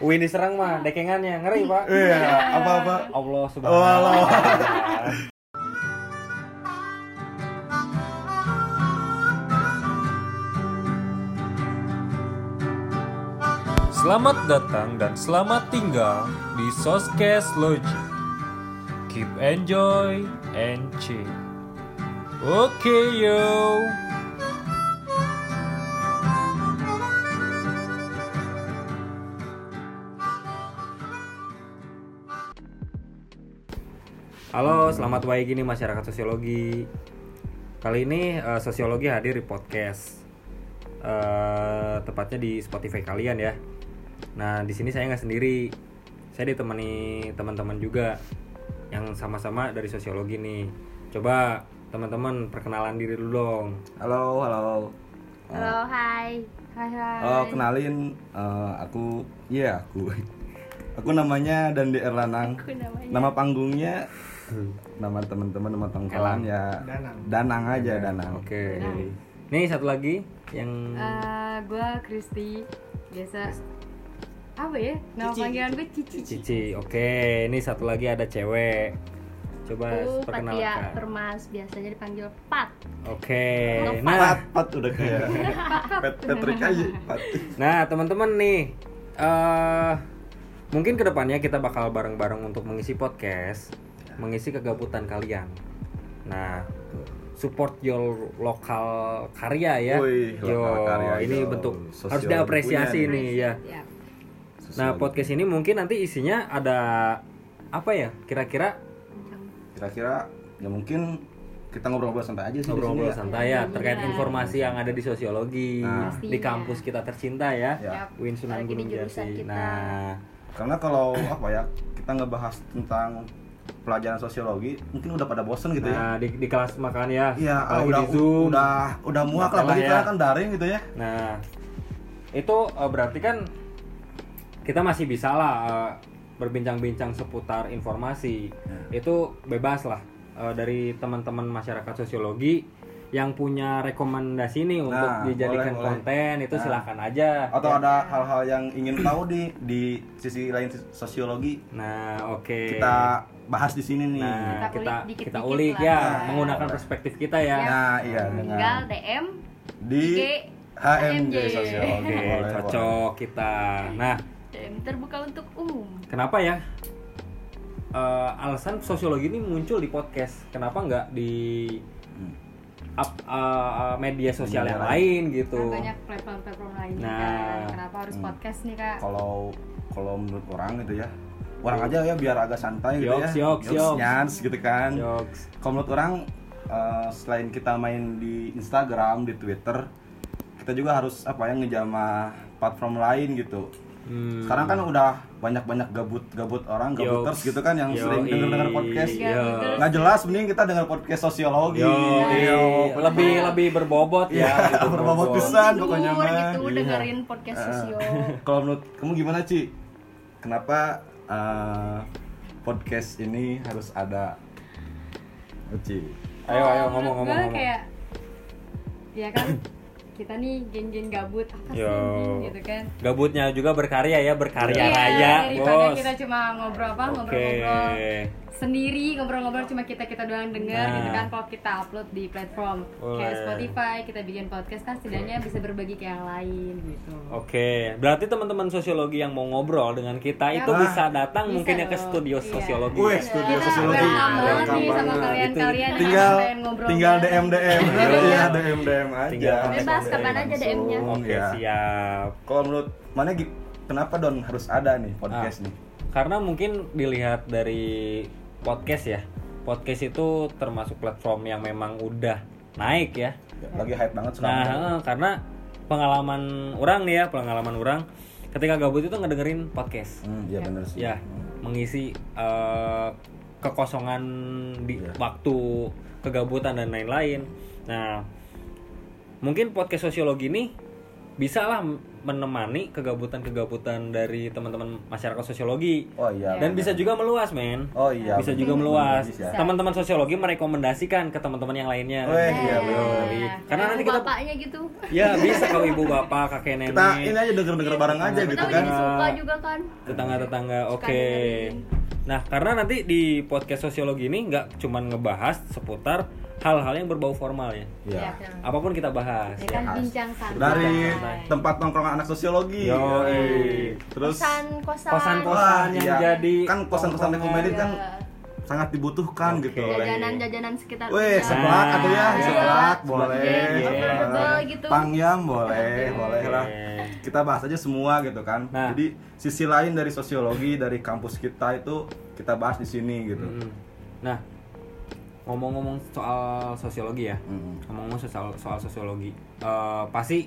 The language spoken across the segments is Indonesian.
Win diserang mah dekengannya ngeri pak. Iya, apa-apa. Oh, Allah subhanahu wa Walau. taala. Selamat datang dan selamat tinggal di Soskes Logic. Keep enjoy and chill. Oke yo. Halo, selamat pagi gini masyarakat sosiologi. Kali ini eh, sosiologi hadir di podcast, Eh, tepatnya di Spotify kalian ya. Nah di sini saya nggak sendiri, saya ditemani teman-teman juga yang sama-sama dari sosiologi nih. Coba teman-teman perkenalan diri dulu dong. Halo, Oh, halo. Halo, hai. Hai, hai. Oh, kenalin eh, aku, iya aku. Aku namanya Dandi Erlanang. Aku namanya. Nama panggungnya nama teman-teman nama tongkolan ya Danang. aja Danang. Oke. Nih satu lagi yang Eh, gua Kristi. Biasa apa ya? Nama panggilan gue Cici. Cici. Oke, ini satu lagi ada cewek. Coba Aku Patia perkenalkan. Permas, biasanya dipanggil Pat. Oke. Ngepat. Nah, Pat, pat udah kayak Pat Patrick aja. Pat. Nah, teman-teman nih, eh mungkin kedepannya kita bakal bareng-bareng untuk mengisi podcast, mengisi kegabutan kalian. Nah, support your lokal karya ya. Wih, Yo, lokal karya, ini yo. bentuk Sosial harus diapresiasi punya nih ya. Ya. Nah, podcast ini mungkin nanti isinya ada apa ya? Kira-kira Kira-kira ya mungkin kita ngobrol-ngobrol santai aja sih di sini ngobrol-ngobrol ya. santai ya terkait Iya. informasi yang ada di sosiologi Nah. di kampus kita tercinta ya. Ya. Yap. Win Sunan Apalagi di Gunung jurusan Jati. kita. Nah, Karena kalau apa ya, kita ngebahas tentang pelajaran sosiologi, mungkin udah pada bosen gitu ya. Nah, di, di kelas makan ya. Iya, ah, apalagi udah, di Zoom. udah udah muak lah Masalah bagi ya. kalian kan daring gitu ya. Nah, itu eh, berarti kan kita masih bisa lah eh, berbincang-bincang seputar informasi. Iya. Itu bebas lah eh, dari teman-teman masyarakat sosiologi yang punya rekomendasi nih untuk Nah, dijadikan boleh, boleh. konten itu Nah. silahkan aja. Atau ada hal-hal yang ingin tahu di di sisi lain sosiologi Nah, oke. kita bahas di sini nih. Nah, Kita ulik kita dikit-dikit kita ulik lah. ya, Nah. menggunakan perspektif kita ya. Nah, iya Tinggal dengan DM. di IG, HMJ HMJ. sosiologi. Oke, Boleh, boleh. cocok kita. Nah, DM terbuka untuk umum. kenapa ya eh, alasan sosiologi ini muncul di podcast kenapa nggak di Hmm. up- eh, media sosial Media yang lain. lain gitu Kan banyak platform-platform lain Nah. kan. Kenapa harus Hmm. podcast nih, Kak? Kalau kalau menurut orang gitu ya. Orang aja ya biar agak santai gitu Yoks, ya. yoks, Yoks, yoks. nyans gitu kan. Jokes. Kalau menurut orang eh, selain kita main di Instagram, di Twitter, kita juga harus apa ya ngejamah platform lain gitu. Hmm. Sekarang kan udah banyak-banyak gabut-gabut orang, gabuters Yoks. gitu kan yang Yoi. sering denger-denger podcast. Iya. Gabuters. Nggak jelas, mending kita denger podcast sosiologi. Yo, Yo, lebih lebih berbobot ya Iya, lebih berbobot besar. Kan pokoknya Tidur mah. gitu Iya. dengerin podcast Nah, sosio. Kalau menurut kamu gimana, Ci? Kenapa eh, podcast ini harus ada Oh, Ci? ayo ayo ngomong Kalau menurut ngomong gua ngomong kayak ya kan kita nih geng-geng gabut apa sih Yo. anjing gitu kan gabutnya juga berkarya ya berkarya Iya, raya daripada bos kita cuma ngobrol apa oke ngobrol-ngobrol sendiri ngobrol-ngobrol cuma kita kita doang denger Nah. gitu kan kalau kita upload di platform kayak Boleh. Spotify kita bikin podcast kan setidaknya bisa berbagi ke yang lain gitu Oh, Oke, berarti teman-teman sosiologi yang mau ngobrol dengan kita Ya, itu Pak. bisa datang Bisa mungkin ya ke dong. studio Iya. sosiologi. Nah. Wih, studio Kita sosiologi. Iya, welcome banget nih Welcome sama banget. kalian-kalian Iya, yang tinggal pengen Iya. ngobrol tinggal bareng. DM DM ya DM DM aja Tinggal kontak Bebas, kapan aja langsung, DM-nya. Oke, ya. siap. kalau menurut mana Gi, kenapa don harus ada nih podcast Ah. nih Karena mungkin dilihat dari podcast ya. Podcast itu termasuk platform yang memang udah naik ya. lagi hype banget sekarang Nah, eh, karena pengalaman orang nih ya, pengalaman orang ketika gabut itu ngedengerin podcast. hmm, iya bener sih Ya, mengisi eh, kekosongan di Iya. waktu, kegabutan dan lain-lain. Nah, mungkin podcast sosiologi ini bisa lah menemani kegabutan-kegabutan dari teman-teman masyarakat sosiologi Oh iya. Ya, dan benar. bisa juga meluas men Oh iya. bisa juga benar. meluas Bisa. teman-teman sosiologi merekomendasikan ke teman-teman yang lainnya Weh, iya, Eh, benar. Yoi. Karena kayak nanti kita- bapaknya gitu. ya bisa kalau ibu bapak kakek nenek Kita ini aja denger-denger bareng aja Kita gitu kan kan. jadi suka juga kan. tetangga-tetangga oke Suka dengerin. nah karena nanti di podcast sosiologi ini nggak cuman ngebahas seputar hal-hal yang berbau formal ya Iya. Ya, kan. apapun kita bahas Ya kan bincang santai. Dari tempat nongkrong anak sosiologi. Yoi. Terus kosan-kosan. Kosan-kosan Wah, yang iya. jadi Kan kosan-kosan rekomended kan Iya. sangat dibutuhkan gitu oleh Jajanan-jajanan sekitar. Weh, kita. seblak atau ya, Iya. seblak Seblak boleh. juga, affordable gitu. Pangyam boleh, boleh lah. Oke. Kita bahas aja semua gitu kan. Nah. Jadi sisi lain dari sosiologi dari kampus kita itu kita bahas di sini gitu. Mm. Nah, ngomong-ngomong soal sosiologi ya, Mm. ngomong-ngomong soal soal sosiologi, eh, pasti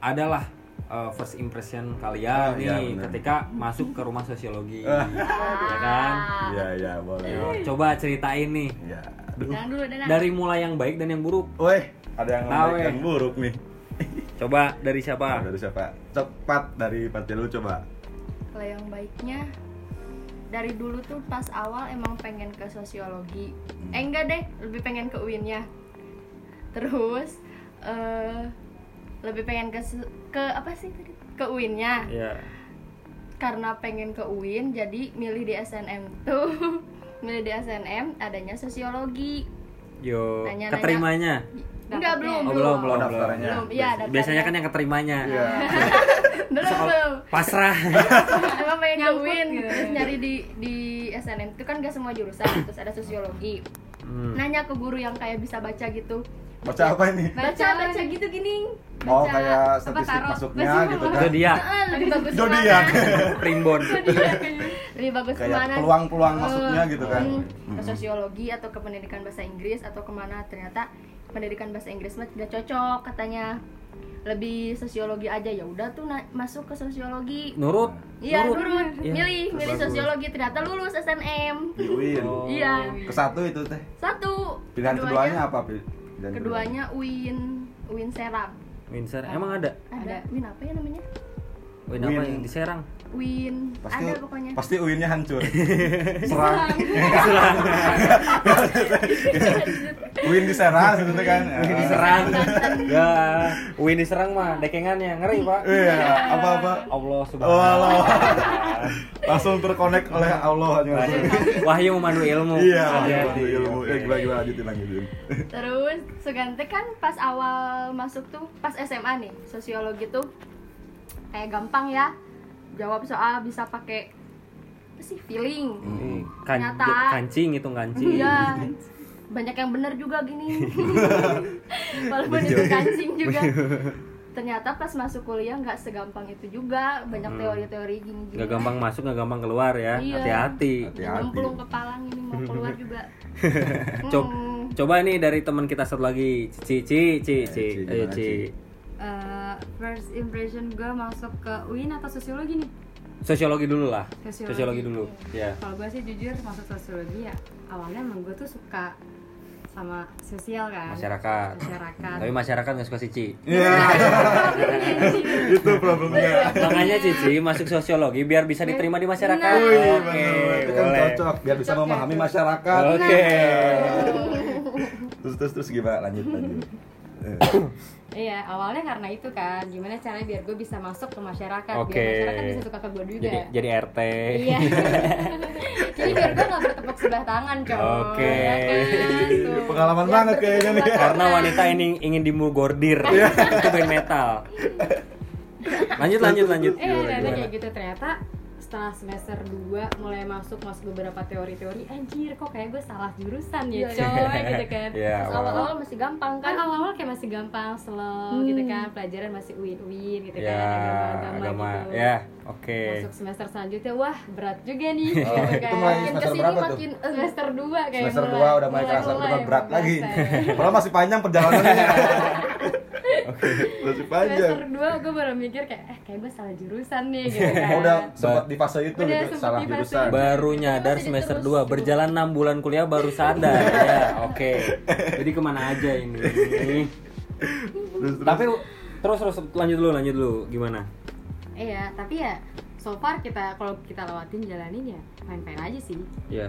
adalah eh, first impression kalian Ah, nih iya, bener. ketika masuk ke rumah sosiologi, Ah. ya kan? Iya, iya, boleh. Ayo, coba ceritain nih Iya. Aduh. Jangan dulu, Danang. dari mulai yang baik dan yang buruk. Weh, ada yang Nah, baik weh. yang buruk nih. Coba dari siapa? Dari siapa? Cepat dari Pati lu coba. Kalau yang baiknya dari dulu tuh pas awal emang pengen ke sosiologi. Hmm. Eh enggak deh, lebih pengen ke UIN-nya. ya. Terus eh lebih pengen ke se- ke apa sih tadi? Ke UIN-nya. Ya. Karena pengen ke UIN jadi milih di SNM tuh. milih di SNM adanya sosiologi. Yo, Nanya-nanya. keterimanya. Enggak belum, Oh, belum, belum, belum. daftarannya. Belum, iya, daftarnya. Biasanya kan yang keterimanya. Iya. belum, belum. Pasrah. emang pengen ke Nyangkut UIN gitu. terus nyari di di SNM itu kan gak semua jurusan terus ada sosiologi Hmm. nanya ke guru yang kayak bisa baca gitu Baca apa ini? baca baca gitu gini baca Oh, kayak apa statistik tarot. masuknya Baca- gitu kan. Zodiak, Heeh, Ah, lebih bagus Zodiak. kemana primbon. lebih bagus Kayak kemana peluang-peluang Eh, masuknya gitu kan. mm, ke Mm. sosiologi atau ke pendidikan bahasa Inggris atau kemana ternyata pendidikan bahasa Inggris mah tidak cocok katanya lebih sosiologi aja ya udah tuh na- masuk ke sosiologi Nurut. Iya, nurut. Iya. Milih, milih Bagus. sosiologi ternyata lulus SNM. Di UIN. Oh. Iya. Ke satu itu teh. Satu. Pilihan keduanya apa, Pi? Pilihan Keduanya UIN, UIN Serang. Windsor emang ada? Ada UIN apa ya namanya? Win, Win. apa yang di Serang? UIN. Pasti, ada pokoknya. Pasti UIN-nya hancur. Serang. UIN diserang gitu kan. Win di Serang. ya, Win di Serang mah dekengannya ngeri, Pak. Iya, apa-apa. Allah subhanahu wa Allah. Langsung terkonek oleh Allah hanya langsung. taala. Wahyu memandu ilmu. Iya. Iya, Hati-hati. ilmu. Ya, gimana gimana lanjutin lanjutin. Terus Sugante kan pas awal masuk tuh pas SMA nih, sosiologi tuh kayak gampang ya. Jawab soal bisa pakai apa sih feeling. Hmm. Ini kan- Ternyata- kancing itu kancing. Iya. Banyak yang benar juga gini. Walaupun itu kancing juga. Ternyata pas masuk kuliah nggak segampang itu juga. Banyak Hmm. teori-teori gini gini. Gak gampang masuk, gak gampang keluar ya. Iya. Hati-hati. Hati-hati. Nyemplung kepala ini mau keluar juga. Coba Hmm. coba nih dari teman kita satu lagi, Cici, Cici, Cici. Eh, Ci, gimana, Ci. Ci? Eh, first impression gue masuk ke UIN atau sosiologi nih Sosiologi dulu lah. Sosiologi. Sosiologi dulu. Ya. kalau gue sih jujur masuk sosiologi ya awalnya emang gue tuh suka sama sosial kan Masyarakat. masyarakat Tapi masyarakat gak suka Cici. Iya. Itu problemnya. Makanya Cici masuk sosiologi biar bisa diterima di masyarakat. Nah. Wih, Oke, bener. Itu kan boleh. cocok biar bisa Cocok ya, memahami cocok. masyarakat. Oke. Terus terus terus gimana lanjut lanjut. Eh, iya awalnya karena itu kan gimana caranya biar gue bisa masuk ke masyarakat Oke. biar masyarakat bisa suka ke gue juga Jadi jadi RT. Iya. Jadi biar gue gak bertepuk sebelah tangan, coy. Oke. Ya kan? Tuh. Pengalaman Biar banget kayaknya nih. bertepuk Karena wanita ini ingin dimugordir. Iya. Itu band metal. Lanjut lanjut lanjut. Eh, Gimana, ternyata gimana? kayak gitu ternyata setelah semester 2 mulai masuk masuk beberapa teori-teori anjir kok kayak gue salah jurusan ya Iya, coy gitu kan Iya, Terus awal. awal-awal Awal masih gampang kan kan. awal-awal kayak masih gampang slow gitu kan pelajaran masih uin-uin gitu Ya, kan agama. agama-agama gitu Ya, oke. masuk semester selanjutnya wah berat juga nih Oh, gitu itu kan mulai Makin Semester kesini berapa tuh? makin eh, semester 2 kayak Semester mulai- 2 udah mulai kerasa Iya, mulai- udah mulai berat lagi. berasa. Padahal masih panjang perjalanannya. Masih panjang. semester 2 gue baru mikir kayak eh kayak gue salah jurusan nih gitu kan. Oh, udah sempat di fase itu Udah gitu sempet salah di fase jurusan. itu. Baru nyadar Masih semester 2 diterus. gitu. Berjalan 6 bulan kuliah baru sadar Ya oke Jadi kemana aja ini Terus, terus. Tapi Terus terus lanjut dulu, lanjut dulu. Gimana? Iya, tapi ya so far kita kalau kita lewatin jalanin ya fine-fine aja sih. Ya.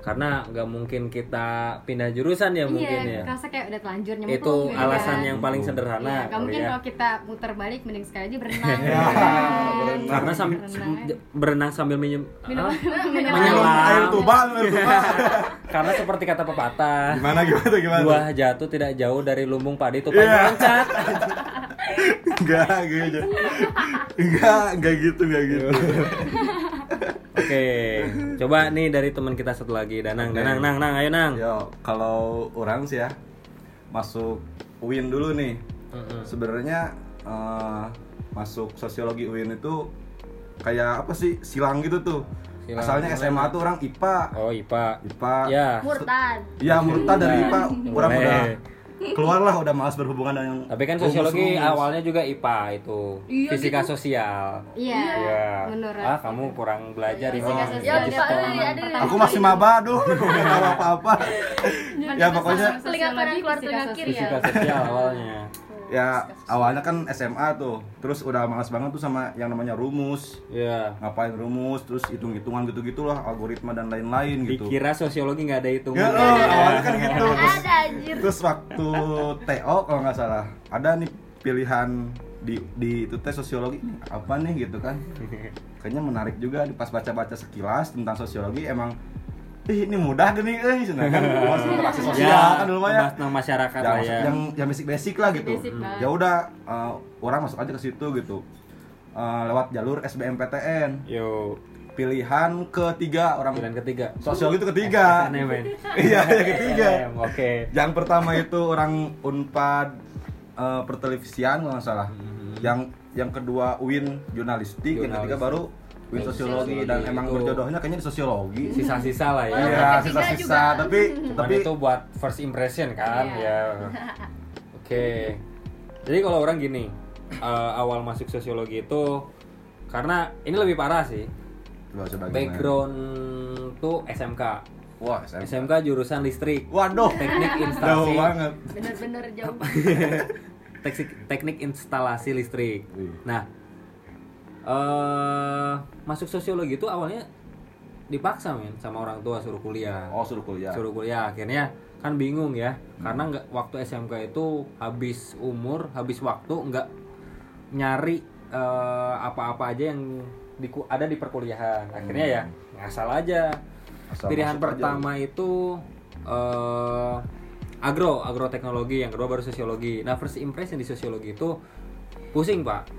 Karena nggak mungkin kita pindah jurusan ya mungkin ya. iya, kerasa kayak udah telanjur nyemplung. Itu gitu alasan kan. yang paling Iya, sederhana. nggak kali mungkin ya. kalau kita muter balik mending sekali aja berenang. Iya. Ya, berenang. Karena sam- Berenang aja. berenang sambil minum ah, minum minum Menyelam. air. Air tuban, air tuban. Karena seperti kata pepatah, Gimana gimana gimana? buah jatuh tidak jauh dari lumbung padi tupai Iya. meloncat. Enggak, enggak aja. Enggak, enggak gitu, enggak gitu. Oke, coba nih dari teman kita satu lagi, Danang. Oke. Ya. Danang, Nang, Nang, ayo Nang. Yo, kalau orang sih ya masuk UIN dulu nih. Sebenarnya eh, masuk sosiologi UIN itu kayak apa sih silang gitu tuh. Silang. Asalnya SMA tuh orang IPA. Oh, IPA. IPA. Ya. Murtad. Ya murtad dari IPA orang Boleh. udah keluar lah udah malas berhubungan dengan Tapi kan rumus-rumus. sosiologi awalnya juga IPA itu, Iya, fisika gitu. sosial. Iya. Iya. Menurut. Ah, kamu kurang belajar Iya, ini. fisika Iya, sosial di dia sekolah. paling- aduh. Aku masih maba, aduh, nggak tahu apa-apa. ya pokoknya Telinga kanan keluar telinga kiri ya. Fisika sosial awalnya. ya awalnya kan SMA tuh, terus udah malas banget tuh sama yang namanya rumus, Iya. ngapain rumus, terus hitung-hitungan gitu-gitulah, algoritma dan lain-lain gitu. Dikira sosiologi nggak ada hitungan. Ya, eh, awalnya kan gitu. Terus, Ada anjir. terus waktu TO kalau nggak salah, ada nih pilihan di di itu tes sosiologi apa nih gitu kan. Kayaknya menarik juga di pas baca-baca sekilas tentang sosiologi emang Ih, ini mudah gini eh sedangkan masih interaksi sosial kan dulu mah ya membahas tentang masyarakat yang, lah ya. yang yang basic basic lah gitu Basic lah. ya udah eh, orang masuk aja ke situ gitu Eh, lewat jalur SBMPTN Yo, pilihan ketiga orang pilihan ketiga. sosial itu ketiga Aneh, men. eh, iya yang ketiga Em, Oke. yang pertama itu orang unpad eh, pertelevisian kalau nggak salah Mhm. yang yang kedua win jurnalistik yang ketiga Jurnalis. baru win sosiologi dan Iya, Sosiologi emang itu. berjodohnya kayaknya di sosiologi Sisa-sisa lah ya. iya Walaupun ketiga sisa-sisa juga. tapi Cuman tapi itu buat first impression kan Iya. ya. Oke. Jadi kalau orang gini, eh, awal masuk sosiologi itu karena ini lebih parah sih. Coba- coba gimana? Background tuh SMK. wah SMK. SMK jurusan listrik. waduh Teknik jauh instalasi. banget Bener-bener jauh. Teksi- teknik instalasi listrik. Wih. Nah, eh masuk sosiologi itu awalnya dipaksa men sama orang tua suruh kuliah. Oh suruh kuliah. Suruh kuliah akhirnya kan bingung ya. Hmm. Karena nggak waktu SMK itu habis umur, habis waktu nggak nyari eh, apa-apa aja yang di, ada di perkuliahan. Akhirnya ya ngasal aja. Asal Pilihan Hmm. masuk aja. pertama itu eh agro, agroteknologi, yang kedua baru sosiologi. Nah, first impression di sosiologi itu pusing, Pak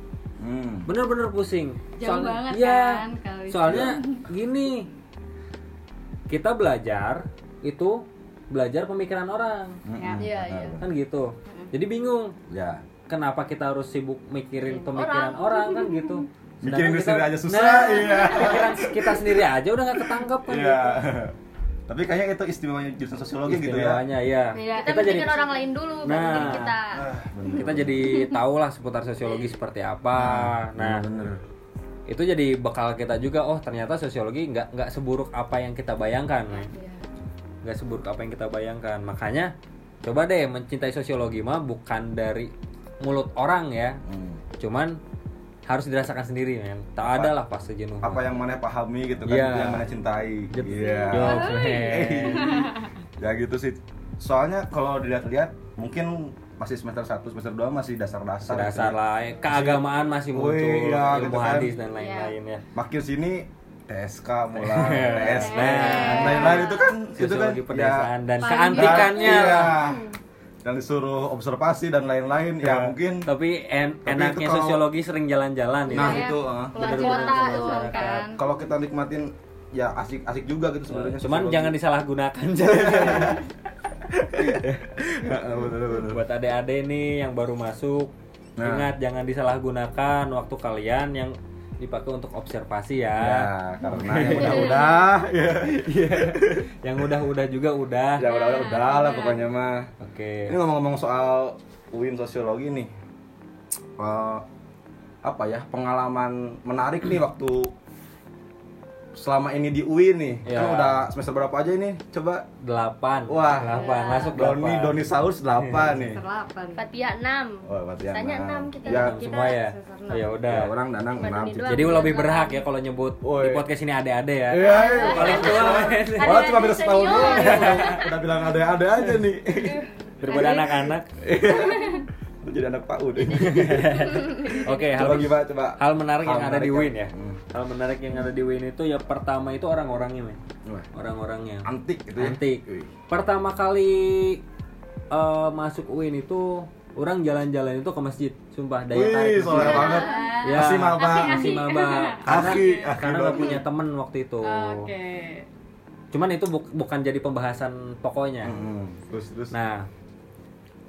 Hmm. bener-bener pusing Jauh banget Iya. kan kalau itu. soalnya gini kita belajar itu belajar pemikiran orang Mm-mm. Iya, iya. kan gitu jadi bingung hmm, Ya. kenapa kita harus sibuk mikirin pemikiran orang, kan gitu Sedangkan Mikirin diri sendiri aja susah, Nah, iya. pikiran kita sendiri aja udah nggak ketangkep kan Iya. Tapi kayaknya itu istimewanya jurusan sosiologi gitu gitu ya. Istimewanya, iya. Iya. Kita mikirin orang lain dulu, bukan Nah. diri kita. Ah, kita jadi tahu lah seputar sosiologi seperti apa Iya. nah bener. itu jadi bekal kita juga oh ternyata sosiologi nggak nggak seburuk apa yang kita bayangkan Iya. nggak seburuk apa yang kita bayangkan makanya coba deh mencintai sosiologi mah bukan dari mulut orang ya Hmm. cuman harus dirasakan sendiri men tak Apa- ada lah pas sejenuh Apa yang mana pahami gitu kan, Iya. itu yang mana cintai. Jep- Iya. Jokes, men. ya gitu sih. Soalnya kalau dilihat-lihat mungkin masih semester 1, semester 2 masih dasar-dasar. dasar gitu ya. lah keagamaan masih muncul Wih, iya, ilmu gitu kan. hadis dan lain-lain ya Makin sini TSK mulai, TSB, Nah. lain-lain itu kan itu kan sosiologi ya, pedesaan dan Paling- keantikannya Dan- lah. iya. dan disuruh observasi dan lain-lain Iya. ya, mungkin tapi en- Tapi itu enaknya kalau- sosiologi sering jalan-jalan ya nah itu eh. Keluar Bener-bener kota sama tuh masyarakat. kan. kalau kita nikmatin ya asik asik juga gitu sebenarnya cuman sosiologi. jangan disalahgunakan Heeh, bener, bener. buat adik-adik nih yang baru masuk Nah. ingat jangan disalahgunakan waktu kalian yang dipakai untuk observasi ya, ya karena yang udah-udah ya, yang udah-udah juga udah ya udah-udah udah lah pokoknya mah oke ini ngomong-ngomong soal UIN sosiologi nih Eh, apa ya pengalaman menarik nih waktu selama ini di UIN nih kan Ya. udah semester berapa aja ini coba delapan Wah. delapan masuk Iya. Doni delapan. Doni Saus 8 nih Semester 8. Fatia 6 Oh, berarti yang Tanya enam. enam kita. ya, Enam semua ya Kita oh, ya udah ya, orang danang Cuma enam Doni gitu. doang. jadi lebih berhak ya kalau nyebut di Woi. podcast ini ada-ada ya Iya, paling tua men. Ada Malah cuma yang beda setahun senior. doang. Udah bilang ada-ada aja nih. daripada Ada. anak-anak Lu Jadi anak PAUD. oke hal Coba gimana coba? Iya. hal menarik Hal yang ada di menarik Win yang- ya Hmm. hal menarik yang ada di Win itu ya pertama itu orang-orangnya men Wah, orang-orangnya Antik gitu ya. antik Wih. pertama kali eh, masuk UIN itu orang jalan-jalan itu ke masjid sumpah daya Wih, tarik masjid. soleh banget. Ya. Masih maba. masih maba karena Aki, aki karena banget. nggak punya temen waktu itu Oke. cuman itu bu- bukan jadi pembahasan pokoknya Hmm, Terus terus. nah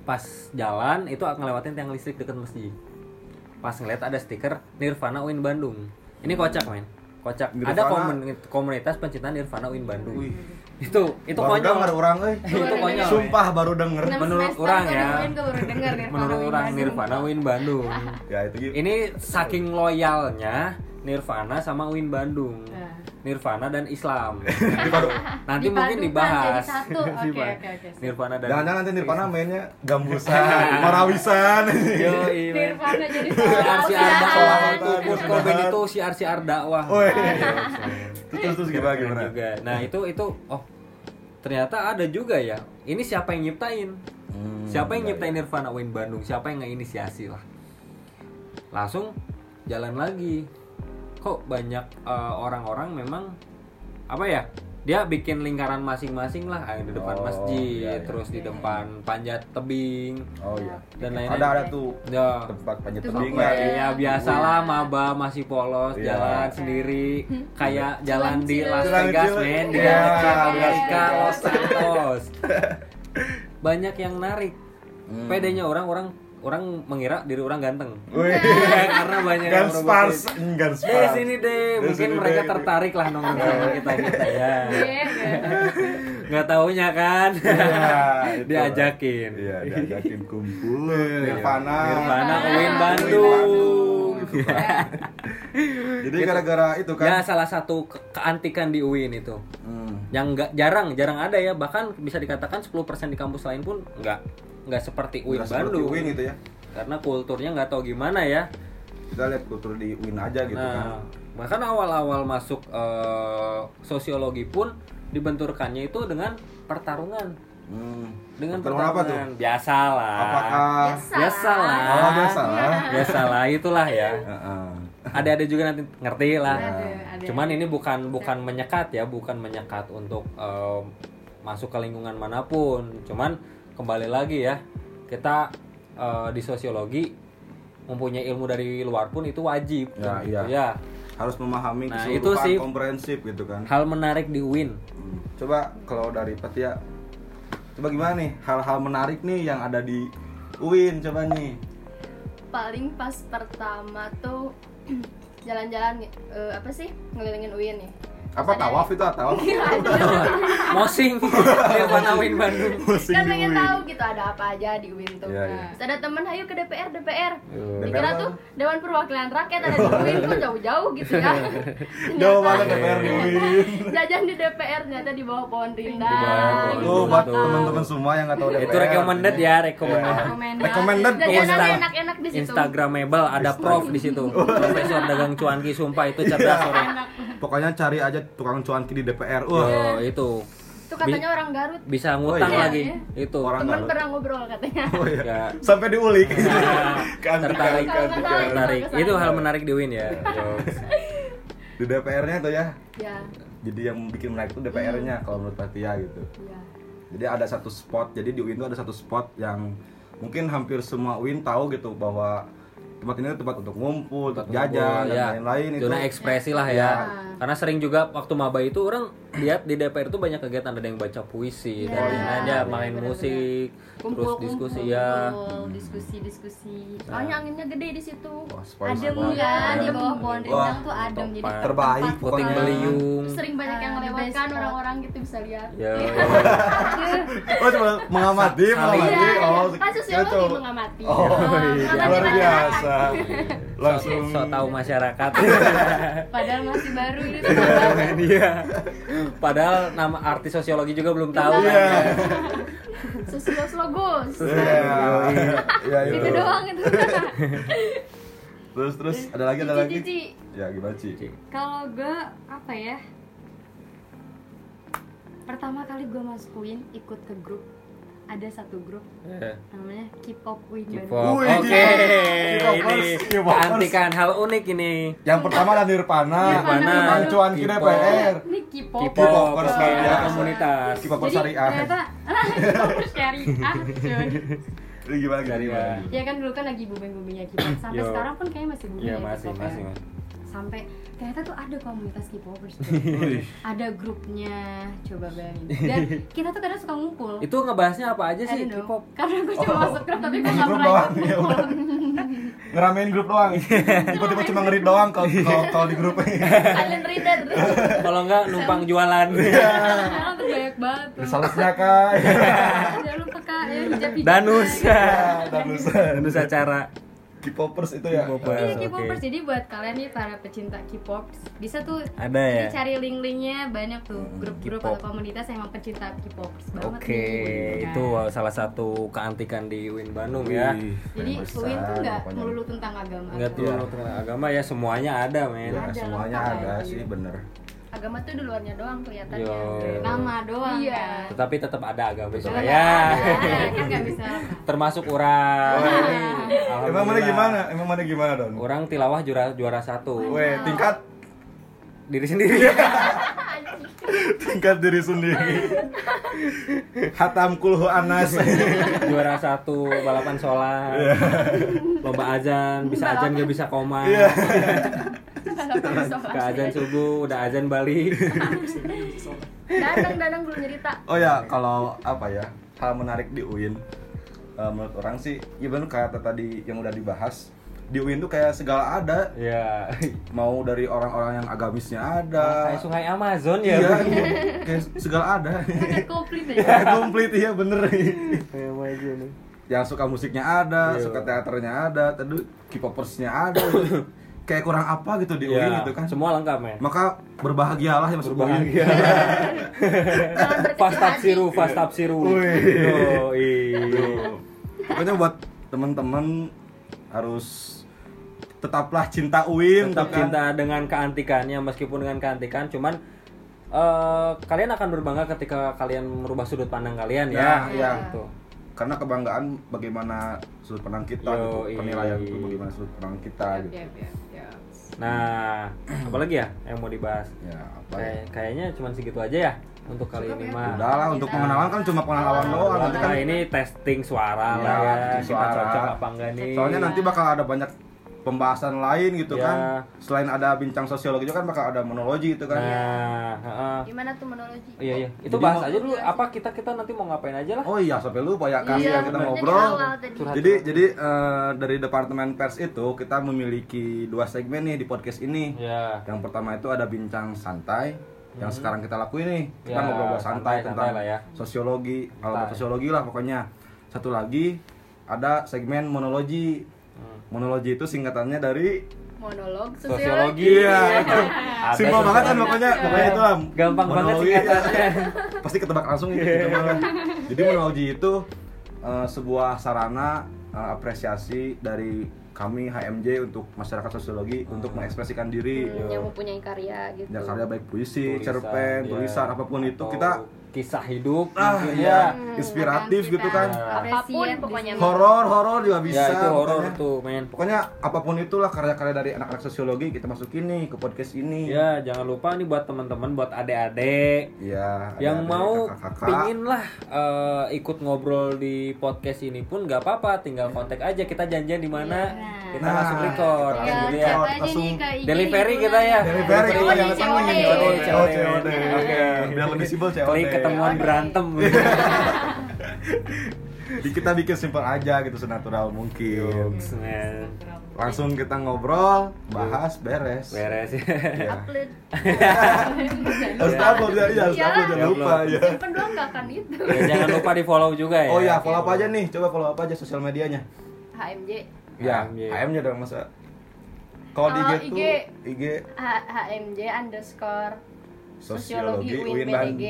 pas jalan itu ngelewatin tiang listrik dekat masjid pas ngeliat ada stiker Nirvana UIN Bandung ini kocak men kocak ada Hmm. Nirvana. komun- komunitas pencinta Nirvana UIN Bandung Wih. itu itu Baru konyol denger orang euy. itu konyol men. Sumpah baru denger. Enam Menurut semester orang tuh ya. dengerin, gue baru denger Nirvana menurut Win orang Bandung. Nirvana Win Bandung. Ya itu gitu. Ini saking loyalnya Nirvana sama Win Bandung. Nah. Nirvana dan Islam. Ini baru. Nanti mungkin Dipadukan dibahas. Jadi satu. Oke, oke, oke. Nirvana dan Iya. Jangan-jangan nanti Nirvana mainnya gambusan, marawisan. Yoi, men. Nirvana jadi siar-siar dakwah Siaran. itu Kurt Cobain itu siar-siar dakwah. Woi. Yoi, Terus terus gimana Iya, keren gimana? juga. Nah, itu itu oh ternyata ada juga ya. Ini siapa yang nyiptain? Hmm, Siapa yang iya, nyiptain iya. Nirvana Win Bandung? Siapa yang ngeinisiasi lah? Langsung jalan lagi. Kok banyak eh, orang-orang memang apa ya? Dia bikin lingkaran masing-masing lah, ada di depan Oh, masjid, iya, iya. terus di depan panjat tebing Oh iya. dan lain-lain. Ada ada tuh Ya. tempat panjat Tempat tebing Iya, ya. iya biasalah maba masih polos Iya. jalan sendiri kayak jalan di Las Jalan Vegas cilik. men di Iya, Amerika Las Los Santos banyak yang narik Hmm. pedenya orang orang orang mengira diri orang ganteng Wih. karena banyak yang Guns merobot. Pars, Guns eh Pars. sini deh Eh, mungkin sini mereka deh. Iya. tertarik lah nongkrong sama kita kita ya Iya, iya. nggak taunya kan Iya, itu. diajakin Iya. Iya, diajakin kumpul. Nirvana. Nirvana Uin Uin Bandung Bandung. Jadi gara-gara itu kan. ya salah satu ke- keantikan di UIN itu Hmm. yang nggak jarang jarang ada ya bahkan bisa dikatakan 10% di kampus lain pun nggak nggak seperti UIN Nggak seperti Bandung Uin gitu ya. karena kulturnya nggak tahu gimana ya Kita lihat kultur di Uin aja gitu nah kan. bahkan awal-awal masuk eh, sosiologi pun dibenturkannya itu dengan pertarungan Hmm. dengan Pertarungan apa tuh? biasalah Apakah biasalah Oh, biasa lah. biasalah itulah ya Heeh. ada-ada juga nanti ngerti lah Ada, ada. Cuman ini bukan bukan menyekat ya, bukan menyekat untuk em, masuk ke lingkungan manapun. Cuman kembali lagi ya, kita eh, di sosiologi mempunyai ilmu dari luar pun itu wajib. Ya, gitu iya. ya. Harus memahami Nah, keseluruhan itu sih. komprehensif gitu kan. Hal menarik di UIN. Hmm. Coba kalau dari Petia Coba gimana nih hal-hal menarik nih yang ada di Uin coba nih. paling pas pertama tuh jalan-jalan eh, apa sih ngelilingin UIN nih Apa Ada- tawaf itu ah, tawaf? Mosing Nirvana UIN Bandung. Pusing di kan pengen Uin. tahu gitu ada apa aja di UIN tuh Iya, iya. Terus ada temen ayo ke DPR DPR Iya. dikira DPR tuh Dewan Perwakilan Rakyat ada di UIN tuh jauh-jauh gitu ya Jauh banget DPR di Uin. jajan di DPR ternyata di bawah pohon Di bawah rindang pohon gitu. Tuh buat teman-teman semua yang nggak tahu DPR. itu recommended ya, recommended. Iya. Rekomendasi. Iya, Recommended jajanannya Insta- enak-enak di situ Instagramable ada prof di situ. Profesor Dagang Cuanki sumpah itu cerdas orang. Iya. Pokoknya cari aja tukang cuanki di DPR. Wah. Yo, itu Iya. itu katanya orang Garut bisa ngutang Oh, iya. lagi itu. Orang temen Garut. pernah ngobrol katanya Oh, iya. Ya, Sampai diulik. tertarik keantikan. tertarik itu hal menarik di Win ya Di DPR-nya tuh ya. ya Nah. Jadi yang bikin menarik tuh DPR-nya Hmm. kalau menurut Patia gitu. ya Jadi ada satu spot. Jadi di UIN tuh ada satu spot yang mungkin hampir semua UIN tahu gitu bahwa tempat ini tuh tempat untuk ngumpul, untuk jajan dan Ya, lain-lain itu. zona ekspresi lah ya. Ya. karena sering juga waktu maba itu orang lihat di DPR itu banyak kegiatan ada yang baca puisi Iya, dan lain-lain ya main bener-bener. musik terus diskusi ya diskusi diskusi soalnya anginnya gede di situ Oh, Wah, spoiler adem banget. kan di bawah Wah, pohon rindang tuh adem jadi tempat. Terbaik tempat puting foto. beliung sering banyak yang Ah, the best melewatkan part. orang-orang gitu bisa lihat Iya. ya Oh cuma mengamati, mengamati. Iya, Oh, kan gitu. ya, sosiologi mengamati. Oh, Oh, iya. mengamati luar masyarakat. biasa. langsung so, tahu masyarakat Padahal masih baru ini. iya padahal nama artis sosiologi juga belum tahu kan, Iya. ya. Sosios logus. Iya. Iya, Gitu Itu doang itu. Terus terus ada lagi ada lagi. Cici, Ya gimana Ci? Ci. Kalau gue apa ya? Pertama kali gue masuk UIN ikut ke grup ada satu grup Eh, namanya K-pop UIN Bandung. K-pop. Wih, Oke, K-popers, ini K-popers. keantikan hal unik ini. Yang pertama ada Nirvana, Nirvana. Cuan kita K-pop. PR. Eh, Ini K-pop. K-pop, K-popers oke, ada biasa. komunitas. K-popers Jadi syariah. ternyata K-popers syariah. Ah, cuy. Ini gimana gimana? gimana? Ya kan dulu kan lagi booming-boomingnya K-pop. Sampai Yo. sekarang pun kayaknya masih booming Iya, ya masih, K-pop ya. masih, masih. Sampai ternyata tuh ada komunitas K-popers. cuy. Wih. ada grupnya, coba bayangin. Dan kita tuh kadang suka ngumpul. Itu ngebahasnya apa aja I Iya sih don't know. K-pop? Karena gue Oh. cuma masuk grup tapi gue Di gak grup pernah doang ikut iya, ya udah. Ngeramein grup doang. Tiba-tiba cuma ngerit doang kalau kalau- kalau di grup. Kalian reader. Kalau enggak numpang jualan. Sekarang tuh banyak banget tuh Salesnya kak. Jangan lupa kak, Iya, ya hijab hijab Danus. Dan terus Danus acara. K-popers itu ya. K-popers. oke. Iya K-popers, jadi buat kalian nih para pecinta K-pop Bisa tuh Ada ya? Hmm, dicari link-linknya banyak tuh Grup-grup K-pop. atau komunitas yang emang pecinta K-popers banget Oke, nih, itu kan. salah satu keantikan di UIN Bandung ya. Wih, Jadi besar Uin tuh gak pokoknya. melulu tentang agama Enggak tuh agama ya semuanya ada, men. Ya, Ada, gitu. semuanya lengkap ada aja. sih bener. Agama tuh di luarnya doang kelihatannya. Yo. Nama doang Iya. kan Tetapi tetap ada agama saya. Cuma nggak ada, kan nggak bisa Termasuk orang. Alhamdulillah. Emang mana gimana? Emang mana gimana Don? Orang tilawah juara juara satu. Weh, tingkat Diri sendiri. tingkat diri sendiri. Hatam kulhu anas. juara satu balapan sholat. Iya. Lomba azan, bisa azan gak bisa koma. Iya. Ke azan subuh, udah azan balik. Danang Danang belum cerita. Oh ya, kalau apa ya? Hal menarik di UIN eh, menurut orang sih, ya bener kata tadi yang udah dibahas. Di UIN tuh kayak segala ada, Iya. mau dari orang-orang yang agamisnya Oh, ada. Kayak sungai Amazon ya. Iya, Bu. iya. kayak segala ada. Kayak komplit ya. deh Komplit iya bener. Sungai Amazon nih. yang suka musiknya ada, Iya. suka teaternya ada, tadi K-popersnya ada. kayak kurang apa gitu di Iya, UIN gitu kan. Semua lengkap ya. Maka berbahagialah yang masuk UIN. Berbahagia. Jangan berkecil Fastab hati. siru, fastab siru. Wih. Yoi. Pokoknya buat temen-temen harus tetaplah cinta UIN Tetap gitu kan. cinta dengan keantikannya meskipun dengan keantikan cuman eh, kalian akan berbangga ketika kalian merubah sudut pandang kalian ya. Ya, ya. Gitu. Karena kebanggaan bagaimana sudut pandang kita Yoi. gitu, penilaian itu bagaimana sudut pandang kita gitu. Yap, yap, yap. Nah, apalagi ya yang mau dibahas? Ya, apa ya? Kayak- kayaknya cuman segitu aja ya untuk kali Cukup ini ya. mah. Udahlah untuk pengenalan kan cuma pengenalan Iya. doang nanti kan. Nah, ini testing suara Iya, lah ya. testing Kita suara. cocok apa enggak nih? Soalnya nanti bakal ada banyak pembahasan lain gitu Ya. kan. Selain ada bincang sosiologi juga kan bakal ada monologi itu kan. Nah, heeh. Gimana tuh monologi? Iya, iya. Itu Jadi bahas mau- aja dulu apa kita kita nanti mau ngapain aja lah. Oh iya, sampai lupa ya kasih yang kita bener. ngobrol. Jadi awal tadi. Curhat. Jadi jadi eh, dari departemen pers itu kita memiliki dua segmen nih di podcast ini. Ya. Yang pertama itu ada bincang santai yang sekarang kita lakuin nih. Hmm. Ya, Kita ngobrol santai, santai-santai tentang lah ya. sosiologi, hal Santai. sosiologi lah pokoknya. Satu lagi ada segmen monologi. Hmm. Monologi itu singkatannya dari Monolog sosiologi. Sosiologi. Iya. Ada Simpel banget kan sosiologi. pokoknya pokoknya itu lah. Gampang banget Monologi, singkatannya. Pasti ketebak langsung gitu. gitu Iya. banget. Jadi monologi itu eh, sebuah sarana eh, apresiasi dari kami HMJ untuk masyarakat sosiologi untuk Ah. mengekspresikan diri. Hmm, yang mempunyai karya gitu. Ya karya baik Iya. puisi, Tulisan, cerpen, ya. tulisan apapun itu Atau Iya. kita kisah hidup ah mungkin ya Hmm, inspiratif kita gitu kan. Ya. Apapun Apresiat pokoknya. di sini. Horor, horor juga ya. bisa. Ya, itu horor pokoknya. tuh, men. Pokoknya apapun itulah karya-karya dari anak-anak sosiologi kita masukin nih ke podcast ini. Ya, jangan lupa nih buat teman-teman, buat adik-adik Iya, yang ada-ada mau kakak-kakak. pingin lah eh, ikut ngobrol di podcast ini pun gak apa-apa, tinggal kontak aja kita janjian di mana, kita Ya. Nah, langsung record. gitu kita Ya, langsung Alhamdulillah. record. chat aja nih langsung ke IG Delivery di kita ya. bulan. Delivery Delivery kita jangan jangan temen COD. COD, COD. COD. Oke, biar lebih simpel COD. Klik ketemuan berantem. Iya. Jadi kita bikin simpel aja gitu senatural mungkin. Ups, men. Langsung kita ngobrol, bahas, beres. Beres. Iya. Upload. ya. Harus upload ya, iya, harus Iya. upload jangan lupa ya. Simpen doang nggak akan itu. Ya, jangan lupa di follow juga ya. Oh ya, follow apa aja nih? Coba follow apa aja sosial medianya? HMJ. Ya, HMJ. HM-nya dong masa Kalau di Kalau IG tuh IG. IG H- HMJ underscore sosiologi sosiologi UIN Winban. BDG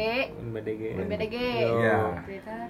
BDG. UIN BDG Iya. Twitter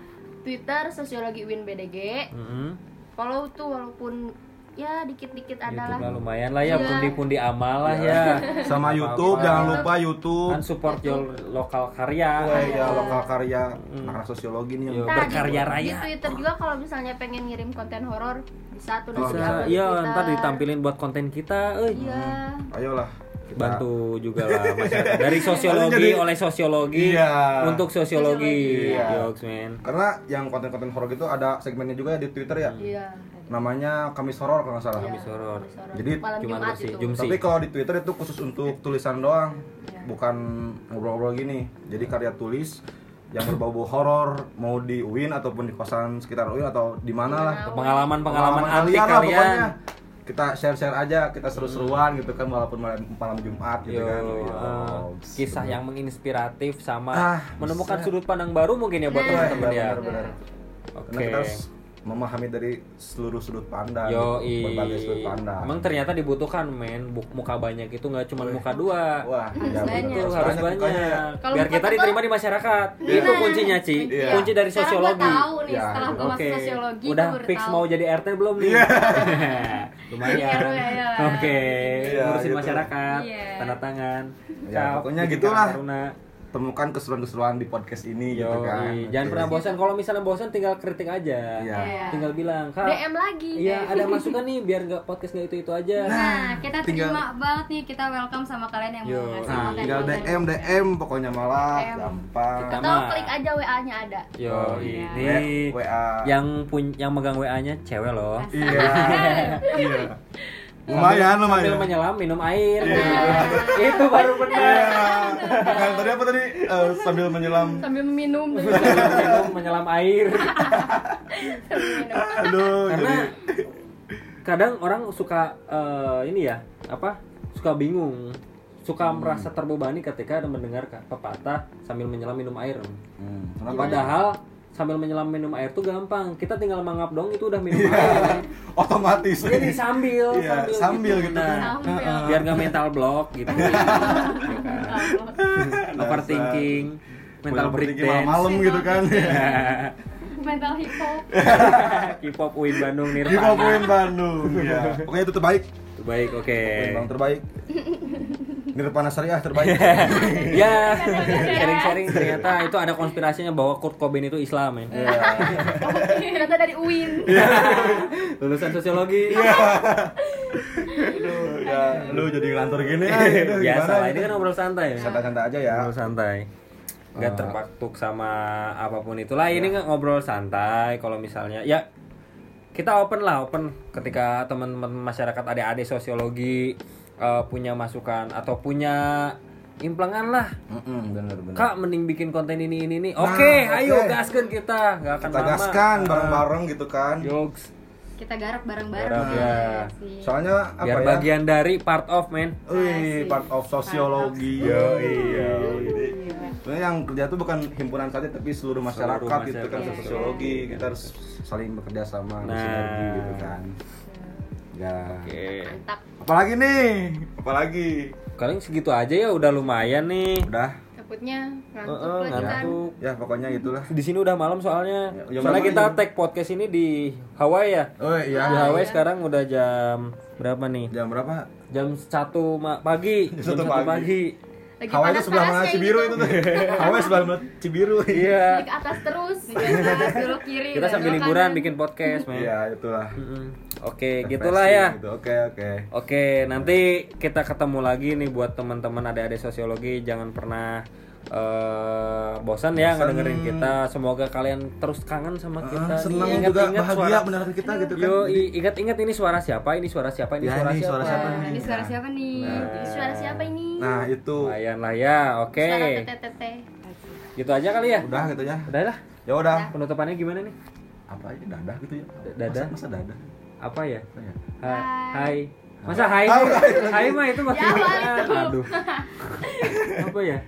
Twitter sosiologi UIN BDG Mm-mm. follow tuh walaupun ya dikit-dikit YouTube lah adalah lumayan lah ya, Iya. pundi-pundi amal lah ya. Sama Apa-apa. YouTube jangan lupa YouTube. kan support your lokal karya. Wah, ya lokal karya anak sosiologi nih. Yo. yang- Nah, berkarya di, raya. di Twitter juga kalau misalnya pengen ngirim konten horor bisa tuh Bisa, nanti di-upload di iya Twitter. ntar ditampilin buat konten kita, euy. iya Ayolah. kita- Bantu juga lah masyarakat. Dari sosiologi Jadi- oleh sosiologi Iya. untuk sosiologi. Sosiologi. Iya. Jokes, man. Karena yang konten-konten horor gitu ada segmennya juga di Twitter ya. iya Namanya Kamis Horor kalau nggak salah. Iya, horor. habis Jadi malam cuman Jumat bersih, itu Jum- Tapi kalau di Twitter itu khusus untuk tulisan doang, Iya. bukan ngobrol-ngobrol gini. Jadi karya tulis yang berbau-bau horor mau di UIN ataupun di kosan sekitar UIN atau di mana lah. Iya. Pengalaman-pengalaman antik ya. kalian lah kalian. pokoknya. Kita share-share aja, kita seru-seruan gitu kan walaupun malam, malam Jumat gitu Yo, kan. Yo, eh, kisah yang menginspiratif sama Ah, menemukan bisa. sudut pandang baru mungkin ya buat Nah. teman-teman ya. benar, benar. Karena Oke. kita harus eh, memahami dari seluruh sudut pandang, Yo, gitu, berbagai sudut pandang. Iya. emang ternyata dibutuhkan men Bu- muka banyak itu nggak cuma muka dua. Wah, ya Itu banyak. betul, Iya, harus banyak. mukanya ya. Kalau Biar muka kita tebal- diterima di masyarakat. Iya. Itu kuncinya, Ci. Iya. Kunci dari sosiologi. Sekarang gue tahu nih Iya, setelah gue Oke. masuk sosiologi Udah gua baru fix tahu. Iya, mau jadi RT belum nih? Lumayan. Iya, iya. Oke, Iya, ngurusin gitu. masyarakat, Iya. tanda tangan. Ya, Cap, pokoknya bikin gitulah. Karuna. temukan keseruan-keseruan di podcast ini Yo, gitu kan. i. jangan Oke. pernah bosan. Kalau misalnya bosan tinggal kritik aja. Iya. Iya. Tinggal bilang, "Kak, DM lagi Iya, ada masukan nih biar nggak podcast nggak itu-itu aja." Nah, kita Tinggal- terima banget nih, kita welcome sama kalian yang Yo, mau nah, ngasih Nah, konten. tinggal DM DM pokoknya malah DM. gampang. Kita- atau Sama. klik aja WA nya ada Yo, Oh, i. iya. ini W- WA. yang pun yang megang WA-nya cewek loh. Iya. Iya. Lumayan, Iya. Sambil lumayan. menyelam minum air. Iya. itu baru benar. Bukan tadi apa tadi Eh, sambil menyelam. sambil minum minum menyelam air. sambil minum Aduh, Karena Oh, jadi kadang orang suka eh, ini ya, apa? Suka bingung, suka Hmm. merasa terbebani ketika ada mendengar ka- pepatah sambil menyelam minum air. Hmm, kenapa? Padahal sambil menyelam minum air tuh gampang. Kita tinggal mangap dong itu udah minum air. otomatis. Jadi sambil Nah, Iya, sambil gitu kan. Sambil. biar nggak mental block gitu. Ya kan? Overthinking, mental breaking breakdown. malam gitu kan. Mental hippo. K-pop Uin Bandung Di Nirvana. Papuin Bandung. Ya. Pokoknya itu terbaik. Baik, oke. Bang terbaik. Nirvana Syariah terbaik. ya, sharing-sharing ternyata itu ada konspirasinya bahwa Kurt Cobain itu Islam ya. Iya. ternyata dari Uin Lulusan sosiologi. Aduh, ya, lu jadi ngelantur gini. Biasa aduh, Nah, gimana lah, ini gitu. kan ngobrol santai ya. santai-santai aja ya. Ngobrol santai. Nggak Eh. terpatuk sama apapun itulah. Ini nggak ngobrol santai kalau misalnya ya kita open lah, open ketika teman-teman masyarakat adik-adik sosiologi eh, punya masukan atau punya implangan lah. Mm-mm, bener bener. Kak mending bikin konten ini ini ini. Oke, Nah. oke. ayo gaskan kita. Nggak akan kita lama. gaskan bareng-bareng gitu kan. Jokes. Kita garap bareng-bareng. Garap, ya. Asik. Soalnya apa Biar ya? bagian dari part of man. Wih, part of sosiologi. Yo, iya. Jadi, sebenarnya yang kerja itu bukan himpunan saja tapi seluruh masyarakat, Seluruh gitu kan masyarakat. Iya. sosiologi. Kita harus saling bekerja sama, Nah. sinergi gitu kan. Ya. Oke. mantap Apalagi nih? Apalagi? Kalian segitu aja ya udah lumayan nih. Udah. takutnya ngantuk Heeh, lagi kan ngantuk. Ya, pokoknya itulah. Di sini udah malam soalnya. Ya, jam soalnya berapa kita nih? tag podcast ini di Hawaii ya. Oh iya. Di Hawaii sekarang udah jam berapa nih? Jam berapa? Jam 1 ma- pagi. Jam satu 1 pagi. lagi Hawaii itu sebelah mana panas-panasnya Cibiru gitu. itu tuh. Hawaii sebelah mana Cibiru. Iya. Klik ke atas terus Terus dulu kiri. Kita dulu sambil kanan. liburan bikin podcast, man. Iya, itulah. Mm-mm. Oke, Ya, gitulah ya. Gitu, Oke, oke. Oke, nanti kita ketemu lagi nih buat teman-teman adik-adik sosiologi. Jangan pernah eh, bosan ya Bosan. ngedengerin kita. Semoga kalian terus kangen sama Oh, kita. Ah, senang Nih, juga ingat-ingat bahagia mendengarkan kita gitu kan. Yo, i- ingat-ingat ini suara siapa? Ini suara siapa? Ini Ya, suara, ini siapa? suara siapa nih? Nah, Ini suara siapa nih? Ini suara siapa ini Nah, itu Lumayan lah ya. Oke. suara TTTT Gitu aja kali ya. udah gitu ya. Udah lah. Ya udah. Penutupannya gimana nih? Apa aja dadah gitu ya. Dadah? Masa, masa dadah. Apa ya? Apa ya? Ha- Hai. Hai. Masa hai? Hai mah itu makin Ya, apa itu? Aduh. Apa ya?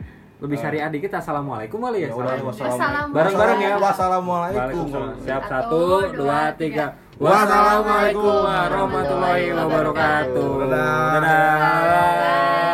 Lebih syariah dikit assalamualaikum kali ya. Ah. Ya udah, Salam. wassalamualaikum. Wassalamualaikum. Bareng-bareng ya. Wassalamualaikum. Waalaikumsalam. Siap Satu, satu, dua, dua, tiga. Wassalamualaikum warahmatullahi wabarakatuh. Oh. Dadah. Dadah.